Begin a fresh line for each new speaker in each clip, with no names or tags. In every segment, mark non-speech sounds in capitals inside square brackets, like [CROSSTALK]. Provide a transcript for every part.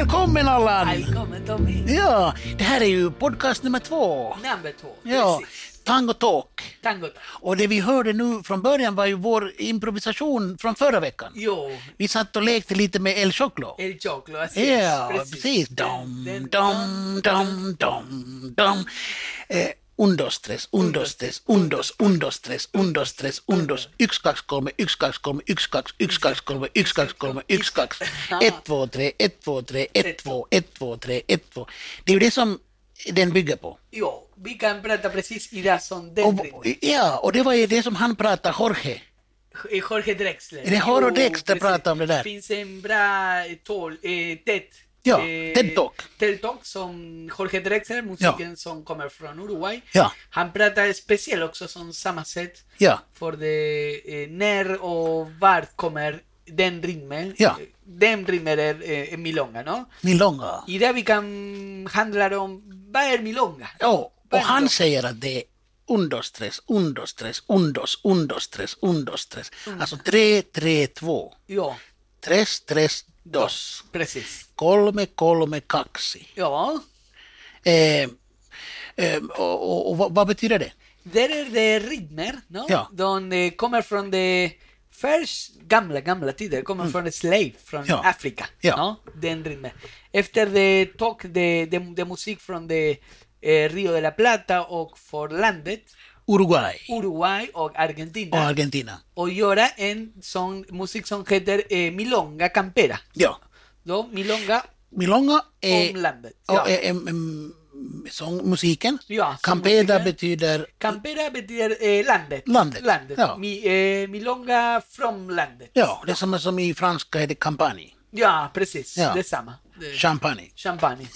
Välkommen
Välkommen Tommy!
Ja, det här är ju podcast nummer två.
Number two,
Ja,
precis.
Tango Talk.
Tango.
Och det vi hörde nu från början var ju vår improvisation från förra veckan.
Jo,
Vi satt och lekte lite med El Choclo.
El Choclo, así es,
Ja, precis. Dom,
Den- den-
dom, dom, dom, dom. Eh, Un, dos, tres, un, dos, tres, un, dos, un, dos, tres, un, dos, tres, un, dos. Yksi, kaksi, kolme, yksi, kaksi, kolme, yksi, kaksi, yksi, kaksi, kolme, yksi, kaksi, kolme, yksi, kaksi. Ett, två, tre, ett, två, tre, ett, två, ett, två, tre, ett, två. Det är ju det som den bygger på.
Jo, Vika en Plata, precis, y
Oh,
Dazón
Och, ja, och det var ju det som han pratade, Jorge.
Eh, Jorge Drexler.
Är det Jorge
Jo,
Drexler
precis.
pratar om det där?
Finns en bra eh, tol, eh, TED. Eh,
Ja, TED Talk.
TED Talk som Jorge Drexler, musiken som kommer från Uruguay.
Ja.
Han pratar speciellt också som samma sätt.
Ja,
För det, eh, när och vart kommer den rimmen?
Ja.
Den rimmen är eh, en milonga, no?
Milonga.
I det vi kan handlar om, vad är milonga?
Ja, och
Vad är milonga?
han säger att det är undos tres, undos tres, undos, undos tres, undos tres. Alltså tre, tre, två.
Ja,
Tres, tres, dos.
precis.
Kolme, kolme, kaksi.
Ja,
Eh, eh, och, och, och vad, vad betyder det?
där är det ritmer, no?
Ja.
De kommer från det först gamla, gamla tider, kommer från slave, från
Mm. Ja.
Afrika.
Ja.
No? Den ritmen. Efter det talk, det, det, det musik från det eh, Rio de la Plata och för landet,
Uruguay
Uruguay och Argentina.
och Argentina.
och göra en sån musik som heter eh, Milonga Campera.
Ja.
Då, Milonga
Milonga
om
är,
landet.
och är, är, mm, sångmusiken.
Ja,
Campeda
sångmusiken.
betyder
Campera betyder eh, landet.
Landet,
landet.
ja.
Mi, eh, milonga from landet.
Ja, det som, som i franska heter campagne.
Ja, precis.
Ja.
Detsamma. Det-
Champagne.
Champagne.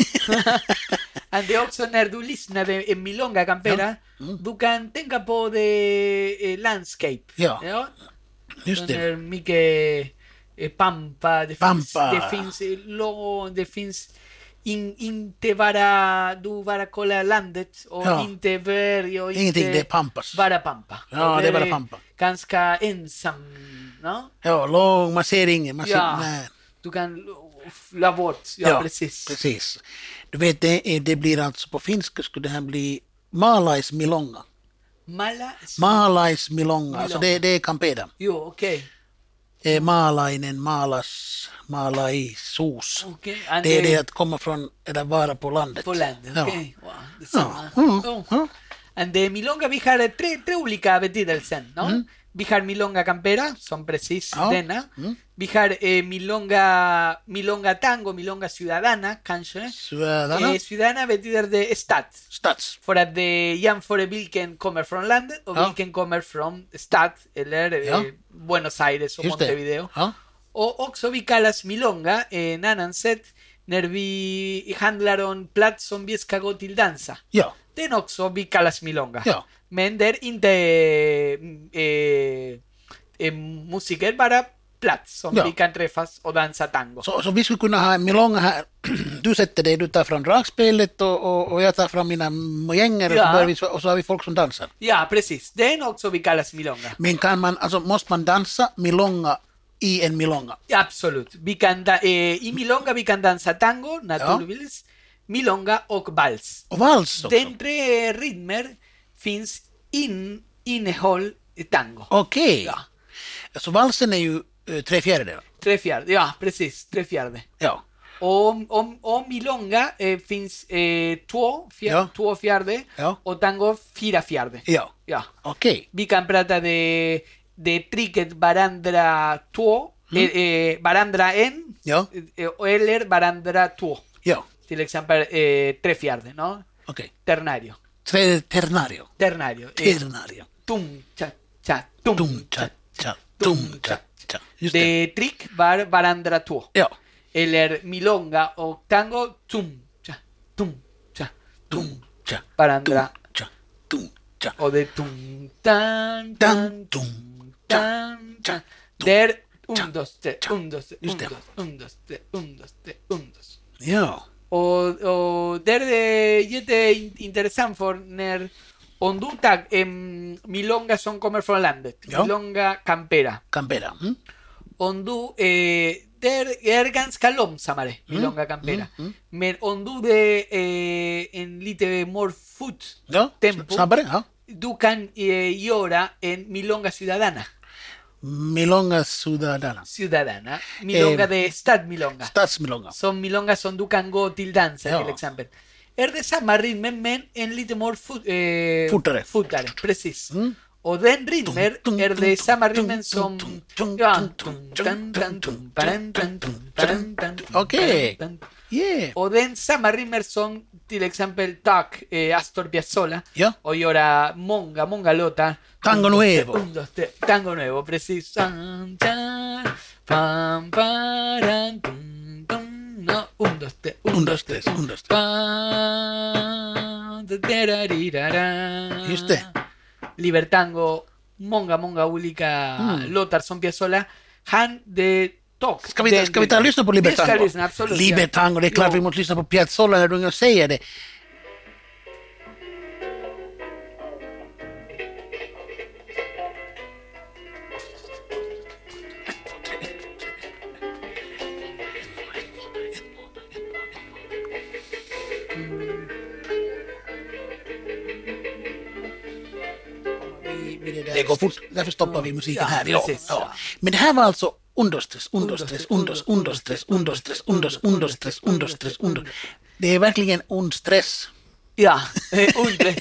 And det är också när du lyssnar en en milonga campera, du kan tänka på det eh, landscape.
Ja, Just
Den
det.
är mycket eh, pampa. Det
Pampa.
finns, det finns eh, lo, det finns in, inte bara, du bara kolla landet och
Ja.
inte berg och
Ingenting,
inte
det är pampas.
Bara pampa.
Ja,
Och
det är bara pampa.
Ganska ensam, no?
Ja, lång, man ser inget. Man ser,
Ja.
nej.
Du kan lo- la bort, ja, precis.
precis. Du vet, det, är- det blir alltså på finska skulle det här bli malais milonga.
Mala,
Malais milonga, alltså det, det är Campeda.
jo okej.
Eh, Malainen, malas, malaisuus.
Okej,
Det är
Andy-
det att komma från, eller vara på landet.
På landet,
Ja.
okej. Wow, detsamma.
Ja, Mm.
Ja.
ja.
And de milonga vi har tre, tre olika betydelser, no? Vi har milonga campera, som precis
Ja.
denna.
Mm.
Vi har eh, milonga, milonga tango, milonga ciudadana, kanske.
Sådana.
Eh, ciudadana betyder det stad.
Stads.
För att det jämför vilken kommer från landet och
Ja.
vilken kommer från stad, eller
Ja.
eh, Buenos Aires och
Just det.
Montevideo.
Ja.
Och också vi kallas milonga, eh, en annan sätt, när vi handlar om plats som vi ska gå till dansa.
ja.
Den också vi kallas milonga.
Ja.
Men det är inte eh, eh, musiker, bara plats som
Ja.
vi kan träffas och dansa tango.
Så, så vi skulle kunna ha en milonga här. [CLEARS THROAT] Du sätter dig, du tar fram dragspelet och, och, och jag tar fram mina mojänger och, så
Ja.
börjar vi, och så har vi folk som dansar.
Ja, precis. Den också vi kallas milonga.
Men kan man, alltså måste man dansa milonga i en milonga?
Absolut. Vi kan da- eh, I milonga vi kan dansa tango, naturligtvis, milonga och vals.
Och vals också?
Den tre rytmer finns in, innehåll i tango.
Okej.
Ja.
Så valsen är ju eh, tre fjärdedelar?
Tre fjärde, ja precis, tre fjärde.
Ja.
Och om, om, om milonga eh, finns eh, två, fjär,
Ja.
två fjärde
Ja.
och tango fyra fjärde.
Ja.
Ja.
Okej.
Vi kan prata de, de tricket varandra två, eh, eh, varandra en
Ja.
eh, eller varandra två.
Ja.
Till exempel eh, tre fjärde, no?
Okej.
Ternario.
Tre ternario.
Ternario. Eh,
Ternario.
tum, cha, cha, tum,
Dum cha cha. Dum cha cha. Just det.
de trick var varandra två.
Ja.
Eller milonga och tango, tum, tja, tum, tja, tum.
Dum cha.
Varandra.
Dum cha. Dum cha.
Och det tum, tan,
Dan
tan,
dum cha.
tan,
tja,
tan.
tum,
Där,
tja,
un, dos, tre,
tja.
un, dos, tre,
Just
un,
det.
dos, un, dos, tre, un, dos, tre, un, dos.
Ja.
Och, och där är jätteintressant för när om du tar en em, milonga som kommer från landet,
Ja.
milonga campera,
Campera. Mm.
Om du eh, ter, ergans kalom samare, milonga campera.
mm, mm.
Mer ondude eh, en lite more food
Joo,
tempo.
Sampere, joo.
ducan eh, llora en milonga ciudadana.
Milonga Ciudadana.
Ciudadana. Milonga
Eh,
de stad milonga.
Statsmilonga.
Son milongas son ducango tildanza
Ja.
till exempel. Är det samma rimmen men en lite more fut, eh,
Fortare.
fortare, precis.
Mm.
Och den rimmer
Tum, tum,
är det
tum,
samma
tum,
rimmen
tum,
som...
tum, tum,
Ja.
tum, tum,
Tan, tan, tum, paran, tan, tum, paran, tan, tum,
Okej.
paran, tan.
Yeah.
Och den samma rimmer som till exempel Tack, eh, Astor Piazzolla.
Ja.
Och göra Monga, Monga låtar.
Tango
Un, dos, tre,
Nuevo.
un, dos, tre. Tango Nuevo, precis. Tan, tan, pam, paran, tum, tum, no. Un, dos, tre, un,
Un, dos,
dos,
tres, un, dos, tres.
Pam, terararara.
¿Y usted?
Libertango, Monga, Monga, Ulica,
Mm.
Lothar, Son Piazzolla, Han de Tok.
Ska vi,
Den-
ska vi ta och lyssna på Libertango?
Vi ska lyssna, absolut.
Libertango, det är klart
Jo.
vi måste lyssna på Piazzolla när du ändå säger det.
Mm.
Det går fort, därför stoppar vi musiken
Ja,
här idag.
precis.
Ja. Men det här var alltså understress, understress, understress, understress, understress, understress, understress, understress, understress. Det är verkligen ond stress.
Ja, eh, un
[LAUGHS]
tres.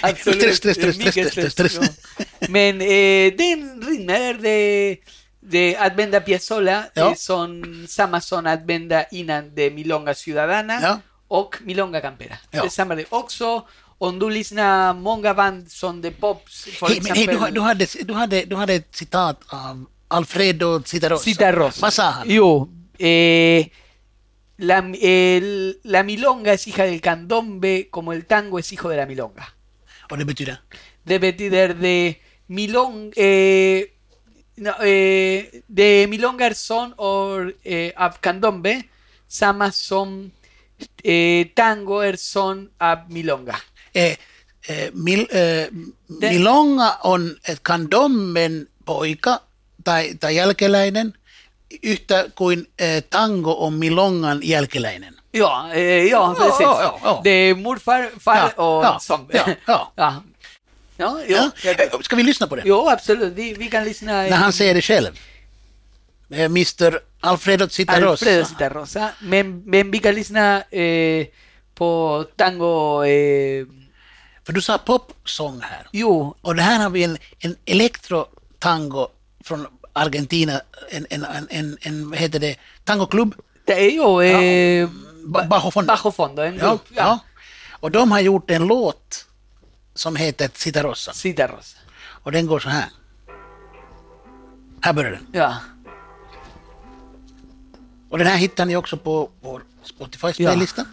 Absolut.
Tres, tres, tres,
Mycket
tres, tres,
stress,
tres.
ja. Men eh, den rinner de, de Advenda Piazzolla
Ja.
eh, som samma som Advenda innan de Milonga Ciudadana
Ja.
och Milonga Campera.
Ja.
Det är samma det också. Om du lyssnar många band som The Pops, för
Hej, men hej, du,
exempel
har- du, hade, du, hade, du hade ett citat av Alfredo Citarrosa.
Citarrosa.
Vad sa han?
Yo, oh, eh, la, el- la milonga es hija del candombe como el tango es hijo de la milonga.
Och det betyder?
de Betider de Milong eh, no, eh, de Milongar son o eh, ab candombe Sama son eh, tango er son ab milonga
Eh, eh, mil, eh, milonga on et kandommen poika tai, tai jälkeläinen yhtä kuin eh, tango on milongan jälkeläinen.
Ja, eh, ja,
Ja,
precis.
ja, ja, ja.
De morfar, far Ah.
Ja,
och
ja,
son.
ja,
[LAUGHS]
ja.
ja. Ja, jo,
Ja?
jag tror-
Eh, Ska vi lyssna på det?
jo, absolut. Vi, vi kan lyssna.
När han säger det själv. Eh, Mr Alfredo Citarrosa.
Alfredo Citarrosa. Men, men vi kan lyssna eh, på tango. Eh,
För du sa popsång här.
jo,
Och det här har vi en, en elektrotango från Argentina, en, en, en, en, en vad heter det, tangoklubb,
det är ju... Eh,
Ba- Bajo Fondo.
Bajo Fondo, ¿eh? en
Ja,
grupp.
ja. Och de har gjort en låt som heter Citarossa.
Citarrosa.
Och den går så här. Här börjar den.
Ja.
Och den här hittar ni också på vår Spotify-spellista.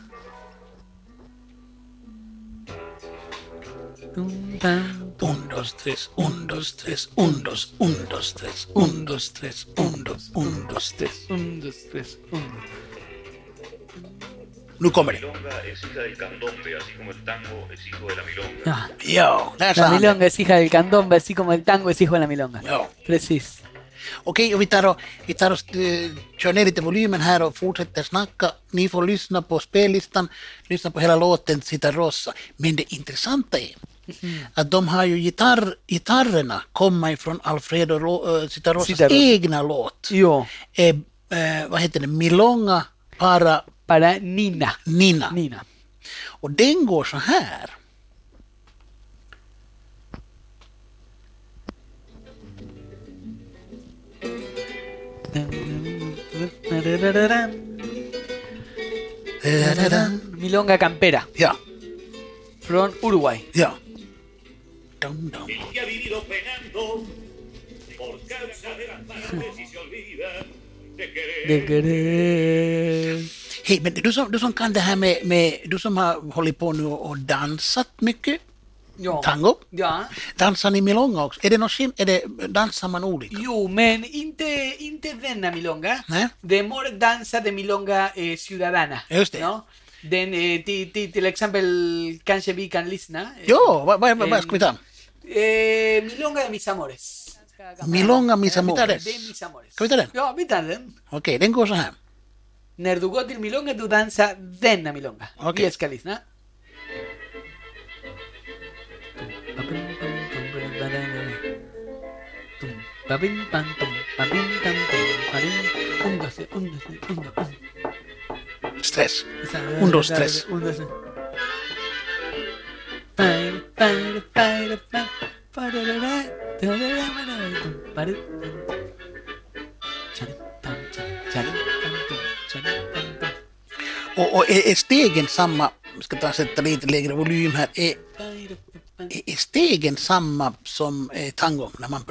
Undos, tres, undos, tres, undos, undos, tres, undos, tres, undos, undos, tres.
Un, dos, tres, un.
Nu kommer det.
milonga es hija del candombe, así como el tango es hijo de la milonga.
Ja.
Ja, där sa
La
han det.
milonga es hija del candombe, así como el tango es hijo de la milonga.
Ja.
Precis.
Okej, och vi tar och, vi tar och eh, kör ner lite volymen här och fortsätter snacka. Ni får lyssna på spellistan, lyssna på hela låten Citarossa. Men det intressanta är att de har ju gitarr, gitarrerna komma ifrån Alfredo Lo- eh, Citarossas
Citarossa.
egna låt.
Yo.
Eh, eh, vad heter det? Milonga para
Para Nina.
Nina.
Nina.
Och den går så här.
Milonga campera.
Ja,
From Uruguay.
ja. Dum, dum.
El que ha vivido penando por causa de las partes y se olvida de querer.
De querer.
Hej, men du som, du som kan det här med, med, du som har hållit på nu och dansat mycket,
Ja.
tango,
Ja.
dansar ni milonga också? Är det någon skin, är det, dansar man olika?
Jo, men inte, inte denna milonga.
Nej.
Det är more dansa de milonga eh, ciudadana.
Just det.
No? Den, eh, ti- ti- till exempel kanske vi kan lyssna. eh,
Jo, vad, vad, vad, vad ska vi ta?
Eh, milonga de eh, mis amores.
Milonga, mis amores.
De mis amores.
Capitán.
Yo, capitán.
Okei, den går så här.
När du går till milonga, du dansar denna milonga.
Okej.
Vi ska lyssna. Un, dos, un, dos, un, dos, un.
Stress.
Un, dos, tres.
Och, och är, är stegen samma, jag ska ta sätta lite lägre volym här, är, är- är stegen samma som eh, tango? När man,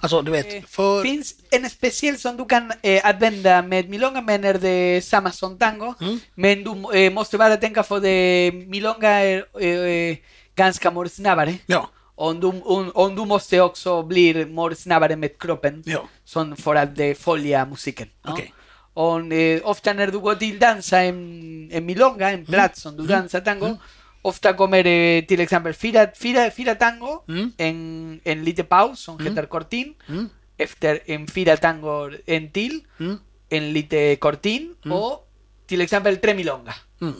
alltså du vet, för...
Finns en speciell som du kan eh, använda med milonga men är det samma som tango.
Mm.
Men du eh, måste bara tänka för det milonga är eh, ganska mer snabbare.
Ja,
Om du, om, om du måste också bli mer snabbare med kroppen.
ja,
Som för att eh, följa musiken. no?
Okej.
Och, eh, ofta när du går till dansa en, en milonga, en plats som du dansar tango, ofta kommer eh, till exempel fyra, fyra, fyra tango
Mm.
en, en lite paus, som heter kortin,
Mm.
efter en fyra tango en till,
Mm.
en lite kortin och till exempel tre milonga.
mm,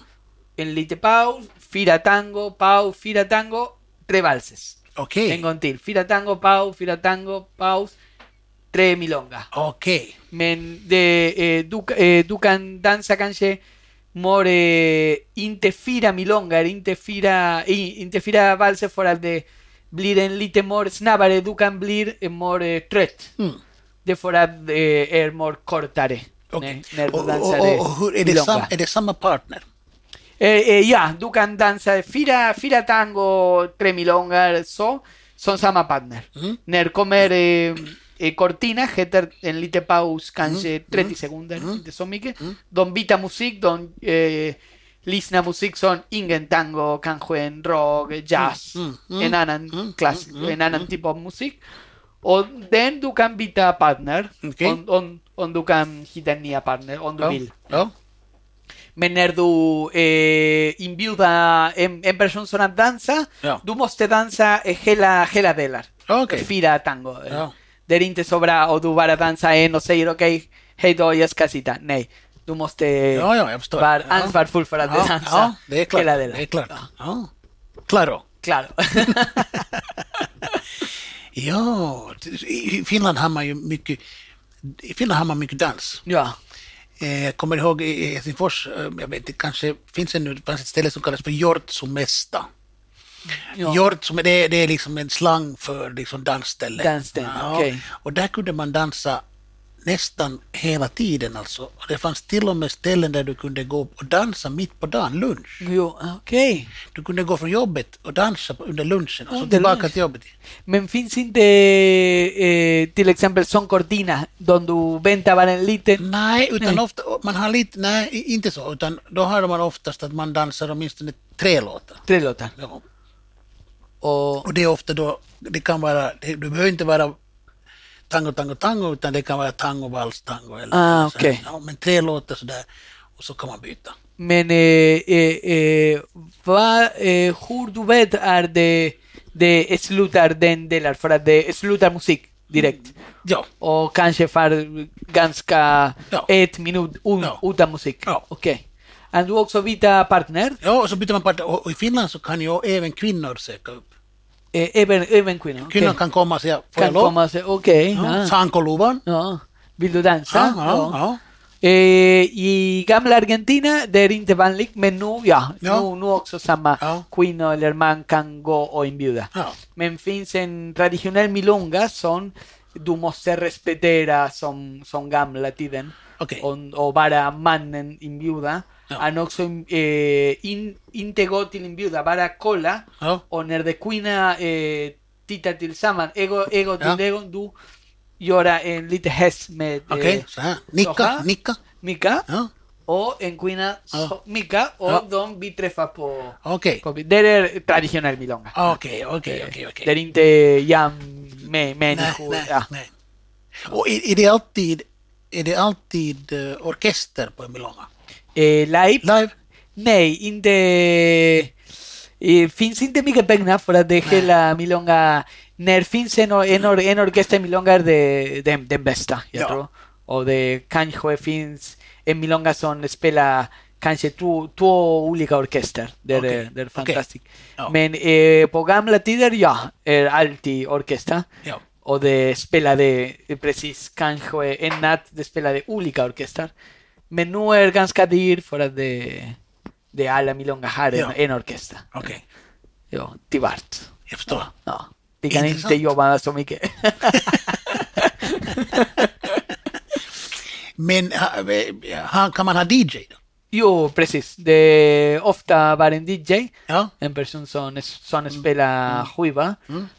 En lite paus, fyra tango, paus, fyra tango, tre valses.
okej,
En gång till, fyra tango, paus, fyra tango, paus, tre milonga.
okej,
Men de, eh, du, eh, du kan dansa kanske more eh, inte fira milongar, inte fira, i- inte fira valser för att det blir en lite more snabbare, du kan bli eh, more eh, trött.
mm,
Det är för att eh, är more kortare.
okej.
när- När
Och,
du
och,
dansar
och, och hur, är, det
milonga.
sam, är det samma partner?
Eh, eh, ja, du kan dansa fyra, fyra tango, tre milongar, så. Som samma partner.
Mm.
När kommer eh, eh, cortina, heter en liten paus, kanske
Mm,
30 sekunder, inte så mycket. De byter musik, de eh, lyssnar musik som ingen tango, kanske en rock, jazz,
Mm,
en annan klass, en annan typ av musik. Och den du kan byta partner,
Okej.
om, om, om du kan hitta en ny partner, om du
Ja,
vill.
ja,
Men när du eh, inbjuder en, en person som att dansa,
Ja.
du måste dansa eh, hela, hela delar.
Okej.
Fyra tango. eh.
Ja.
Det är inte så bra och du bara eh, dansar en och säger okej, hej då, jag ska sitta. Nej, du måste
ja, ja, jag förstår.
vara
Ja.
ansvarsfull för att
Ja,
dansa
ja, det är klart.
hela delar.
Det är klart. Ja. Claro.
[LAUGHS] Claro.
Ja, i Finland har man ju mycket, i Finland har man mycket dans.
ja.
Eh, Jag kommer ihåg i i Helsingfors, eh, jag vet inte, kanske finns det nu, det fanns ett ställe som kallas för Jortsumesta.
ja.
Jortsume, det, är- det är liksom en slang för liksom dansställe.
Dansställe, okej.
Och där kunde man dansa nästan hela tiden alltså. Och det fanns till och med ställen där du kunde gå och dansa mitt på dagen, lunch.
Jo, okej.
Du kunde gå från jobbet och dansa på- under lunchen och så
Under
tillbaka
lunch.
till jobbet.
Men finns inte eh, till exempel som cortina, där du väntar bara en liten...
Nej, utan
Nej.
ofta, man har lite, nej, i- inte så, utan då har man oftast att man dansar åtminstone tre låtar.
Tre låtar.
Ja.
Och...
Och det är ofta då, det kan vara, det, det behöver inte vara tango, tango, tango, utan det kan vara tango, vals, tango eller
Ah,
så här.
okej.
ja, Men tre låtar sådär, och så kan man byta.
Men eh, eh, eh, vad, eh, hur du vet är det, det slutar den delen för att det slutar musik direkt.
Ja,
Och kanske för ganska
Ja.
ett minut un,
Ja.
utan musik.
Ja.
Okej. Och du också byta partner,
ja och så byter man part, och, och i Finland så kan ju även kvinnor söka upp.
eh, även, även kvinnor.
Kvinnor
okej.
kan komma och säga, får
Kan
jag lov?
komma och säga okej.
Ja,
ja.
Sankoluvan.
Ja. Vill du ah. dansa?
Ja, ja, ja.
Eh, I gamla Argentina, det är inte vanligt, men nu, ja,
Ja.
Nu, nu också samma
Ja.
kvinnor eller man kan gå och inbjuda.
Ja.
Men finns en traditionell milonga som du måste respektera som, som gamla tiden.
Okej.
Och, och bara mannen inbjuda.
Ja.
Han också eh, in, inte gå till inbjuda, bara kolla.
Ja.
Och när de kvinna eh, tittar tillsammans, ego, ego till
Ja.
ego, du göra en liten häst med eh,
Okej, så här. Nicka,
Soha.
nicka.
Mika.
Ja,
O en Quina
Ah.
so- Mika o
Ah.
Don Bitrefa po.
okej.
po- Derer tradicional milonga.
Okej, okej, okej, okej.
Där inte jam me, Ah.
Nej,
människor.
nej,
ja.
nej. Och är, är det alltid, är det alltid eh, orkester på en milonga?
Eh, live?
Live?
Nej, inte... Eh, finns inte mycket pengar för att det hela milonga nerfinse en, en, or- en orquesta en milongas este de, de, de besta,
Ja.
jag tror. Och det kanske finns en milonga som spelar kanske två, två olika orkester. Det är,
Okej,
det är
okej.
fantastiskt.
Ja.
Men eh, på gamla tider, ja, är alltid orkester.
Ja.
Och det spelade precis kanske en natt, det spelade olika orkestrar. Men nu är det ganska dyrt för att det, det alla milongas har en,
Ja.
en orkester.
Okej,
Ja, tyvärr.
jag förstår.
Ja. Vi kan inte
Intressant.
jobba så [LAUGHS] mycket.
Men ha, eh, ha, kan man ha DJ? Då?
jo, precis. Det, ofta var en DJ,
Ja,
en person som, som spelar skiva.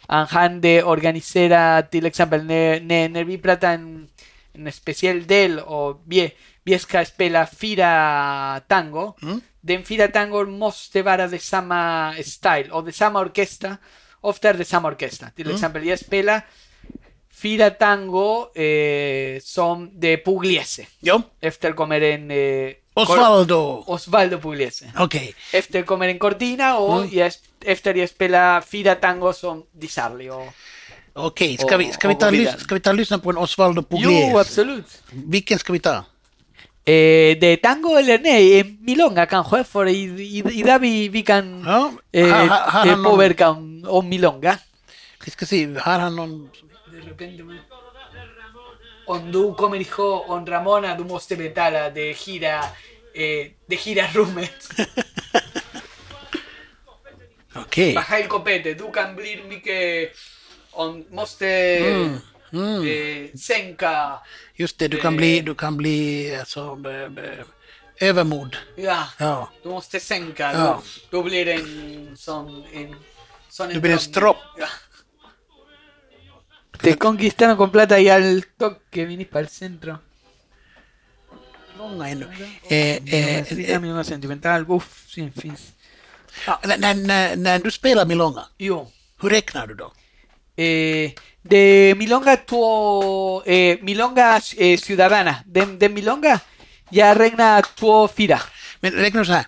Och han de organiserar till exempel när, när, när vi pratar en, en speciell del och vi, vi ska spela fyra tango. Den fyra tango måste vara de samma style och de samma orkestra. Ofta är de samma orkestra. Till exempel jag spelar fyra tango eh, som de Pugliese.
ja.
Efter comer en... eh,
Osvaldo.
Cor- Osvaldo Pugliese.
Okej,
Efter comer en Cortina o
Mm.
jag es- efter jag spelar Fida Tango som Di Sarli. Och...
okej. Ska, vi, ska, vi
Och-
ta
och
och lys-
vidare.
ska vi ta och lyssna på en Osvaldo Pugliese?
Jo, absolut.
Vilken ska vi ta?
Eh, de tango eller nej, en milonga kanske, för i, i, idag vi, vi kan
Ah, Ja,
eh,
ha- ha- har han
eh,
någon-
påverka om, om milonga.
Vi ska se, har han någon...
De repente, man. Om du kommer ihåg, om Ramona, du måste betala de gira, eh, de gira rummet.
Okej.
Baja el copete, du kan bli mycket... Om måste...
Mm,
Eh, sänka...
Just det, du kan bli, du kan bli alltså, b- b- övermod.
Ja,
Ja.
du måste sänka.
Ja.
Du, du blir en sån... En, sån
Du blir en stropp.
Ja. [LAUGHS] Te conquistaron con plata y al toque viniste para el centro.
Många ännu. Eh, eh, eh,
Camino sentimental, uff, sin fin.
när- när, när, när du spelar milonga,
Yo.
hur räknar du då?
Eh, de Milonga tuvo eh, Milonga eh, Ciudadana. De, de Milonga ya reina tuvo Fira.
Men räknar du så här?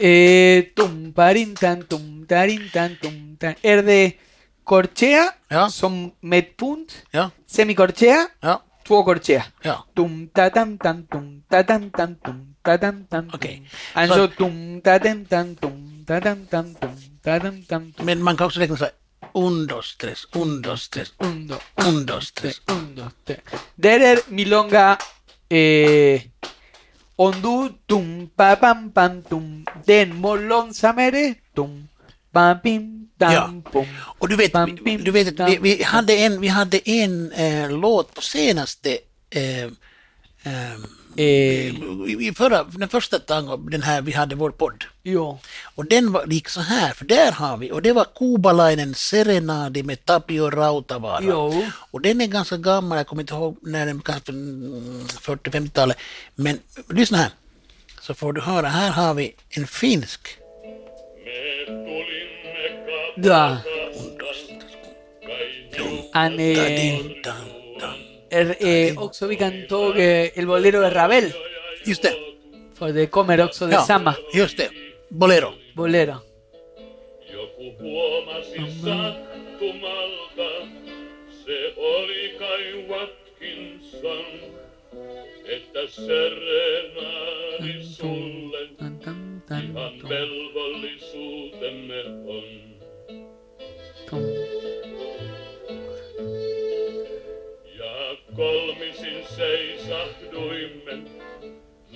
Eh, tum, parin, tan, tum, tarin, tan, tum, tan. Er de Corchea,
Ja.
son Medpunt,
Ja,
Semicorchea,
ja,
tuvo Corchea.
ja.
Tum, ta, tam, tan, tum, ta, tam, tan, tum, ta, tam, tan.
Ok.
tum. And
So-
yo, tum, ta, tem, tan, tum, ta, tam, tan, tum, ta, tam, tan, tum.
Men man kan också räkna så här. Un, dos, tres, un, dos, tres,
Un, dos,
un, dos, tres.
tres, un, dos, tres. Derer milonga eh, ondu tum pa pam pam tum den molon samere tum pam pim tam
Ja.
pum.
Och du vet,
pam,
vi-
pim,
du vet att vi,
tam,
vi hade en, vi hade en eh, låt på senaste eh, eh,
Eh,
i- i förra, den första tangon, den här vi hade vår podd.
jo.
Och den var, gick så här, för där har vi, och det var Kubalainen Serenadi med Tapio Rautavaara.
Jo.
Och den är ganska gammal, jag kommer inte ihåg när den, kanske mm, 40-50-talet. Men lyssna här, så får du höra, här har vi en finsk.
Da. Han eh,
Din, dan, dan.
er, eh, också vi kan ta eh, el bolero de Ravel
Just det.
för det kommer också de samma
just det. Bolero.
bolero.
Joku huomasi sattumalta, se oli kai Watkinson, että serenaadi sulle
Tan, tan, tan,
ihan
tum,
velvollisuutemme on.
tum.
Ja kolmisin seisahduimme,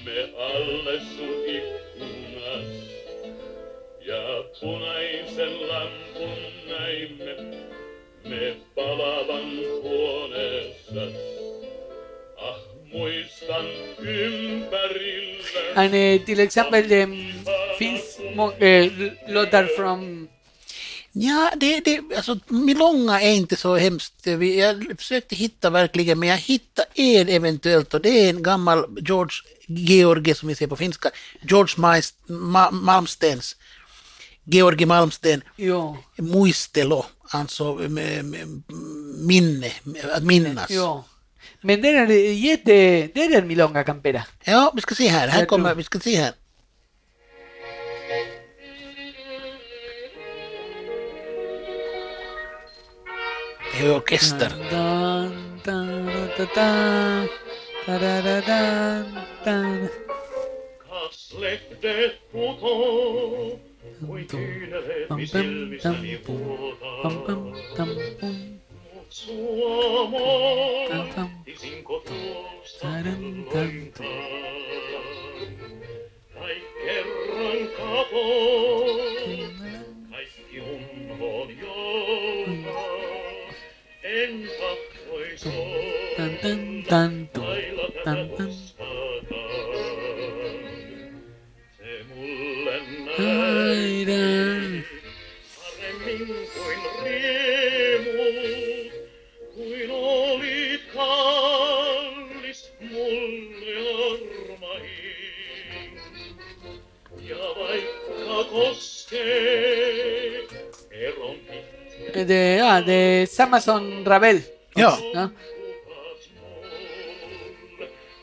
me alle sun ikkunas. Ja punaisen lampun näimme, me palavan huoneessas. Ah, muistan ympärillä.
And eh, till exempel the Finns mo- eh, låtar från
Ja, det, det, alltså, Milonga är inte så hemskt. Vi- Jag försökte hitta verkligen, men jag hittade en eventuellt och det är en gammal George George som vi säger på finska, George Maist, Ma, Malmstens, Georgi Malmsten,
Jo,
Muistelo, alltså m- m- minne, att minnas.
jo. Men den är jätte... Den är milonga campera.
Ja, vi ska se här, här
Jag
kommer,
tror-
vi ska se här. heavy orchestra.
Tan, tan, ta, ta, tarararán, tan.
Kas släppte på tå och i tynered
Pam,
vid
pam, tam,
Silvisen i
pum. Pam, pam,
båda.
tam, pum.
Mot Suomoa
Tam, tam.
till Sinkotuosta
Taran, tam,
loitaan. Tai kerran katoin, kaikki unhoon joutaa. En tahtoi
Tan,
soida.
tan, tan, tum,
Lailla tätä
tan, tan.
mustakaan. Se mulle
Aidan.
näytti paremmin kuin riemu, kuin olit kallis mulle armahin. Ja vaikka koskee eron pitkä
De, ah, de Samson Ravel.
Joo.
¿no?
Kuvat mul,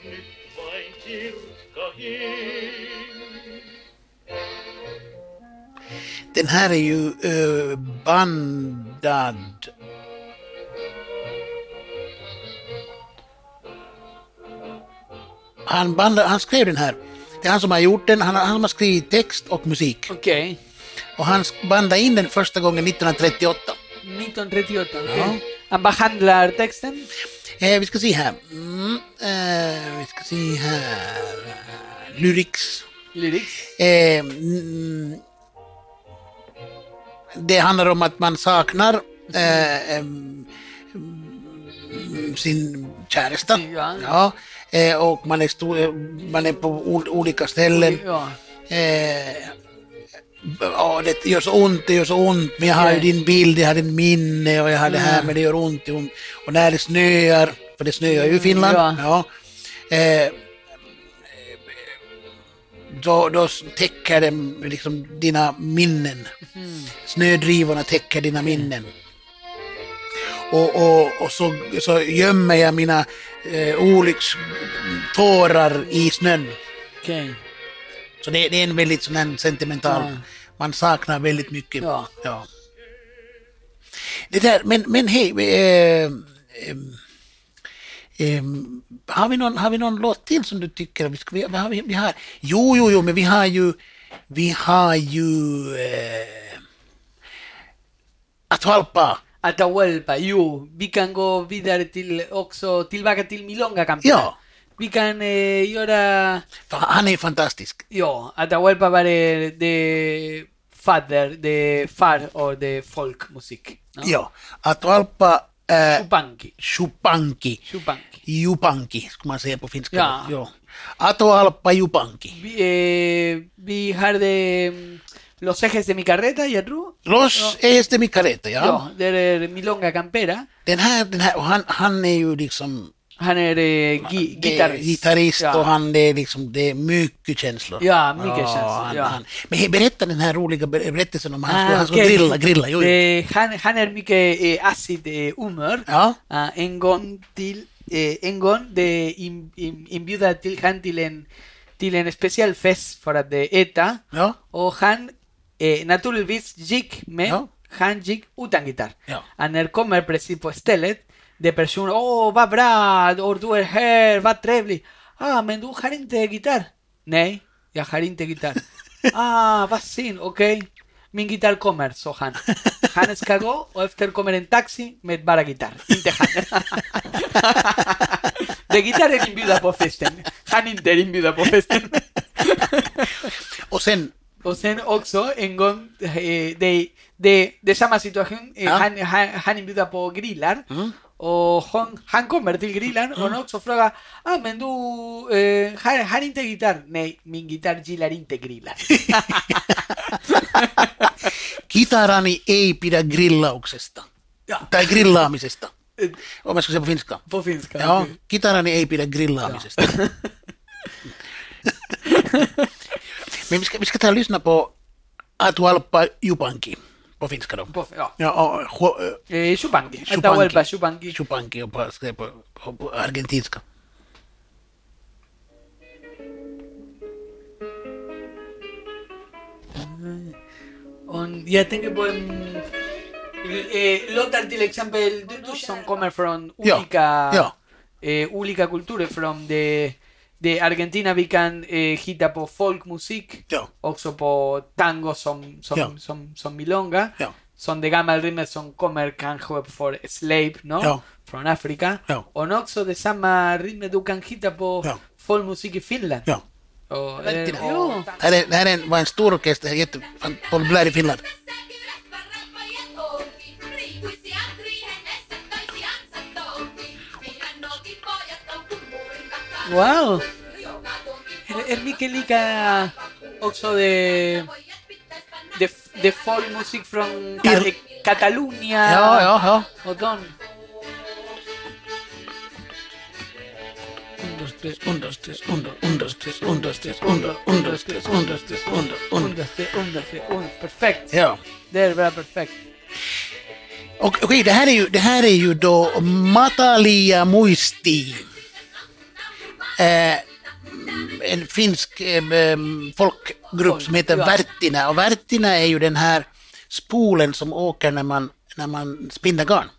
nyt vain kirkkahin.
Den här är ju eh, bandad. Han, bandade, han skrev den här. Det är han som har gjort den, han, har- han som har skrivit text och musik.
Ok.
Och han sk- bandade in den första gången 1938.
Milton Retiota. ok.
Ja.
Han va a handlar texten.
Eh, vi ska se här. Mm, eh, vi ska se här. Lyrics.
Lyrics.
Eh, mm, det handlar om att man saknar eh, em, mm, sin käresta.
Ja.
Ja, eh, och man är, stor, man är på ol, olika ställen.
Ja.
Eh, ja, det gör så ont, det gör så ont, men jag har ju
Ja.
din bild, jag har din minne och jag har det här,
Mm.
men det gör ont, det gör ont. Och när det snöar, för det snöar ju i Finland,
Ja.
ja. eh, då, då täcker det liksom dina minnen.
Mm.
Snödrivorna täcker dina minnen. Och, och, och så, så gömmer jag mina eh, olyckstårar i snön.
Ok.
Så det, det är en väldigt sån här sentimental,
Ja.
man saknar väldigt mycket.
Ja.
Det där, men, men hej, eh, ehm, ehm, har, vi någon, har vi någon låt till som du tycker att vi ska, vi, vad har vi, vi har, jo, jo, jo, men vi har ju, vi har ju eh, Atahualpa.
Atahualpa, ju, vi kan gå vidare till också tillbaka till Milonga campeón.
Ja.
Vi kan eh, göra,
För Han är ju fantastisk.
ja, Atahualpa var det, det fader, det far och det folkmusik. No?
Ja, Atahualpa eh,
Chupanqui,
Chupanqui.
Chupanqui.
Jupanki, ska man säga på finska.
Ja.
Ja. Atoalpa Jupanki.
Vi, eh, vi hade mm, Los ejes de mi carreta, jag tror.
Los es de mi careta, ja.
Ja, det är eh, Milonga Campera.
Den här, den här och han, han är ju liksom
Han är eh, gi-
det är
gitarrist.
gitarrist
ja.
och han det är liksom, det är mycket känslor.
Ja, mycket känslor,
Han,
ja.
han. Men hej, berätta den här roliga ber- berättelsen om han skulle, han skulle
okej.
grilla, grilla, jo, jo.
Eh, Ah, han, han är mycket eh, acid eh, humör.
Ja,
Ah, en gång till, eh, en gång de in, in, inbjuda till han till en, till en speciell fest E för att det äta.
ja,
Och han eh, naturligtvis gick med,
Ja.
han gick utan gitarr.
Ja.
Och när kommer precis på stället, de Oh, personen, åh vad bra, och du är här, vad trevligt. Ah, men du har inte gitarr? Nej, jag har inte gitarr. ah, vad synd, okej. Min gitarr kommer, sa han. Han ska gå och efter kommer en taxi med bara gitarr, inte han. De gitarr är inbjuden på festen, han inte är inbjuden på festen.
och sen,
Och sen också en gång, eh, det, det, det är samma situation, eh,
Ja.
han, han, han inbjuder på grillar
Mm.
och hon, han kommer till grillan och hon också frågar, ah men du, eh, har, har inte gitarr? Nej, min gitarr gillar inte grillar.
kitarani ei pidä grillauksesta.
Ja.
Tai grillaamisesta,
Eh,
om jag ska säga på finska.
på finska.
Ja, kitarani ei pidä [LAUGHS] grillaamisesta. Men vi ska, vi ska ta och lyssna på Atualpa äh, Jupanki på finska då.
På, ja.
Ja, och, och, eh,
Eh, Chupanqui,
Chupanqui.
Atahualpa Chupanqui.
Jupanki och på, ska jag på, på, på argentinska.
Och jag tänker på en, Eh, Lothar till exempel, du, du som kommer från
Ja,
olika,
ja.
eh, olika kulturer. Från det, det Argentina vi kan eh, hitta på folkmusik,
Ja.
också på tango som, som,
Ja.
som, som milonga.
Ja.
Som de gamla rimmer som kommer kanske från slave, no?
Ja.
från Afrika.
Ja.
Och också de samma rimmer du kan hitta på
Ja.
folkmusik i Finland.
ja.
Och,
Väldigt
eh,
bra.
och,
Det här är, det här är en, var en stor orkester, jätte- fan, populär i Finland.
wow! El, el Mikel Ica also de de de folk music from Ca- eh,
Ir-
Catalunya.
Ja, ja, ja.
Och de. Un, dos, tres,
Un, dos, tres, un, dos, un, dos, tres, un, dos, tres, un, dos, un, dos, tres, un, dos, tres, un, dos,
un,
un, dos.
dos, tres, un, dos, tres, un. Perfekt.
Ja.
Det är bra, perfekt.
Och- Okej, det, här är ju, det här är ju då Matalia Muisti. Eh, en finsk eh, em, folkgrupp som heter
Ja.
Värtina. Och Värtina är ju den här spolen som åker när man, när man spinner garn.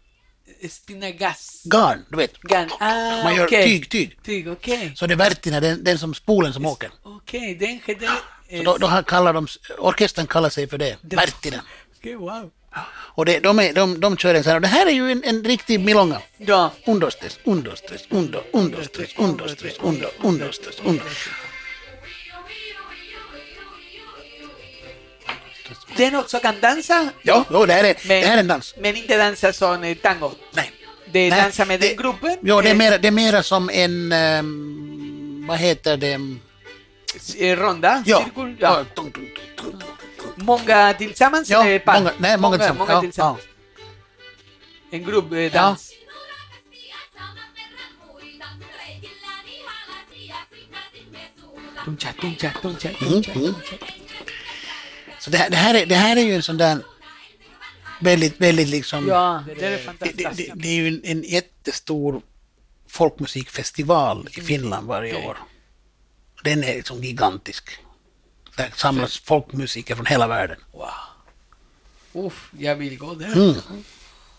Spinna gas.
Garn, du vet.
Gan. Ah,
Man gör
okej.
tyg, tyg.
Tyg, okej.
Så det är Värtina, den, den som spolen som åker.
Okej, den heter...
Så då, då har- kallar de, orkestern kallar sig för det,
Det-
Värtina.
Okej, wow.
Och det, de, är, de, de kör en sån här, och det här är ju en, en riktig milonga.
Ja.
Un, dos, tres, un, dos, tres, un, dos, un, dos, tres, un, dos, tres, un, dos, un, dos, tres, un, dos.
Den också kan dansa?
Ja, jo, det här är,
Men,
det här är en dans.
men inte dansa som eh, tango.
Nej.
De
Nej,
dansa med
det-
den gruppen.
Jo, det är
eh,
mera, det är mera som en, ehm, vad heter det?
eh, Ronda, ah,
Ja.
cirkel.
ja.
Ja.
tung, tung, tung, tung, tung.
Många tillsammans?
Ja,
eh, par.
många- nej, många tillsammans.
Många
Ja,
tillsammans. En grupp eh, dans. Tuncha, tuncha, tuncha, tuncha.
Mm, mm. Så det här, det, här är, det här är ju en sån där väldigt, väldigt liksom...
Ja, det är
Det, det, det,
fantastiskt.
det är ju en, en jättestor folkmusikfestival i Finland varje år. Den är liksom gigantisk. Där samlas folkmusiker från hela världen.
Wow. Uff, jag vill gå där.
Mm.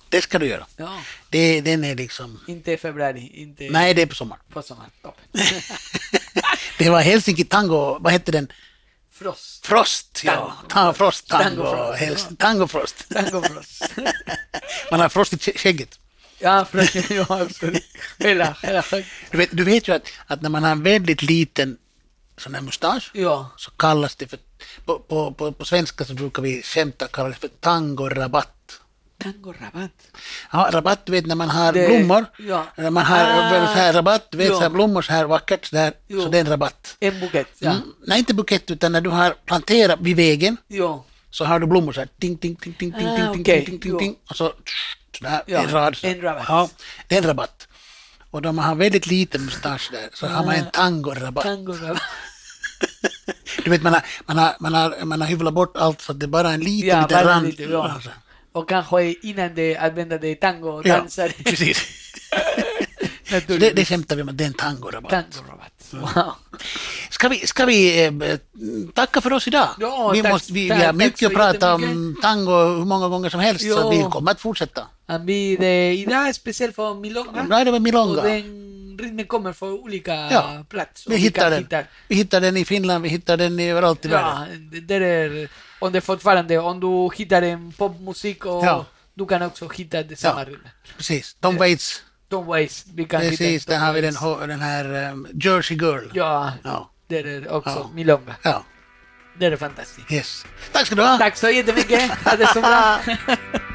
Det ska du göra.
Ja,
Det, den är liksom...
inte i februari, inte
Nej, det är på sommaren.
på sommaren. Toppen.
det var Helsinki Tango, vad hette den?
Frost.
Frost, ja. Ta, frost, tango,
Tango Frost,
Hels- tango Frost. [LAUGHS]
Tango [LAUGHS] frost.
Man har frost i kä- skägget.
ja, [LAUGHS] frost. Ja, absolut. Hela, [LAUGHS] hela hög.
Du vet, du vet ju att, att när man har en väldigt liten sån här mustasch,
Ja.
så kallas det för, på, på, på, på svenska så brukar vi skämta kalla det för tangorabatt.
Tango rabatt.
Ja, rabatt, du vet när man har
Det-
blommor,
ja.
när man har
Ah.
så här rabatt, du vet
Ja.
så här blommor så här vackert, så, där,
Jo.
så det är en rabatt.
En bukett, ja.
Mm. Nej, inte bukett, utan när du har planterat vid vägen
Ja.
så har du blommor så här, ting, ting, ting, ting, ting,
Ah,
ting, ting,
okej.
ting, ting,
Jo.
ting, och så, tsch, så där,
Ja,
en rad. Så.
en rabatt.
Ja, det är en rabatt. Och då man har väldigt liten mustasch där, så har man
Ah.
en tangorabatt.
Tango rabatt.
[LAUGHS] Du vet, man har, man har, man har, man har hyvlat bort allt så att det är bara en liten,
Ja,
liten
bara
rand.
lite, ja.
Alltså,
Och kanske innan de använder det tango
ja,
dansar [LAUGHS]
precis. Så det,
naturligtvis.
det skämtar vi om, att det är en tangorabatt.
Tangorabatt. Wow.
Ska vi, ska vi eh, tacka för oss idag?
Ja,
vi,
tack-
vi,
tack-
vi har
tack
mycket
så
att prata om
jättemycket.
tango hur många gånger som helst, så
Ja.
vi kommer att fortsätta.
Han blir eh, idag speciell för milonga.
Nu är det med milonga.
Och den rytmen kommer från olika
Ja,
plats.
Vi
olika
hittar den.
hittar.
Vi hittar den i Finland, vi hittar den i- överallt i världen.
Ja, det där är... Om det fortfarande, om du hittar en popmusik och
Ja.
du kan också hitta det samma rytmen.
Precis. Tom Waits,
Tom Waits, vi kan
precis.
hitta
Där
Tom
har vi den,
Waits.
ho- den här um, Jersey Girl.
Ja,
Ja.
det är också
Ja.
milonga.
ja.
Det är fantastiskt.
Yes. Tack ska du ha.
Tack så jättemycket. Ha det så bra.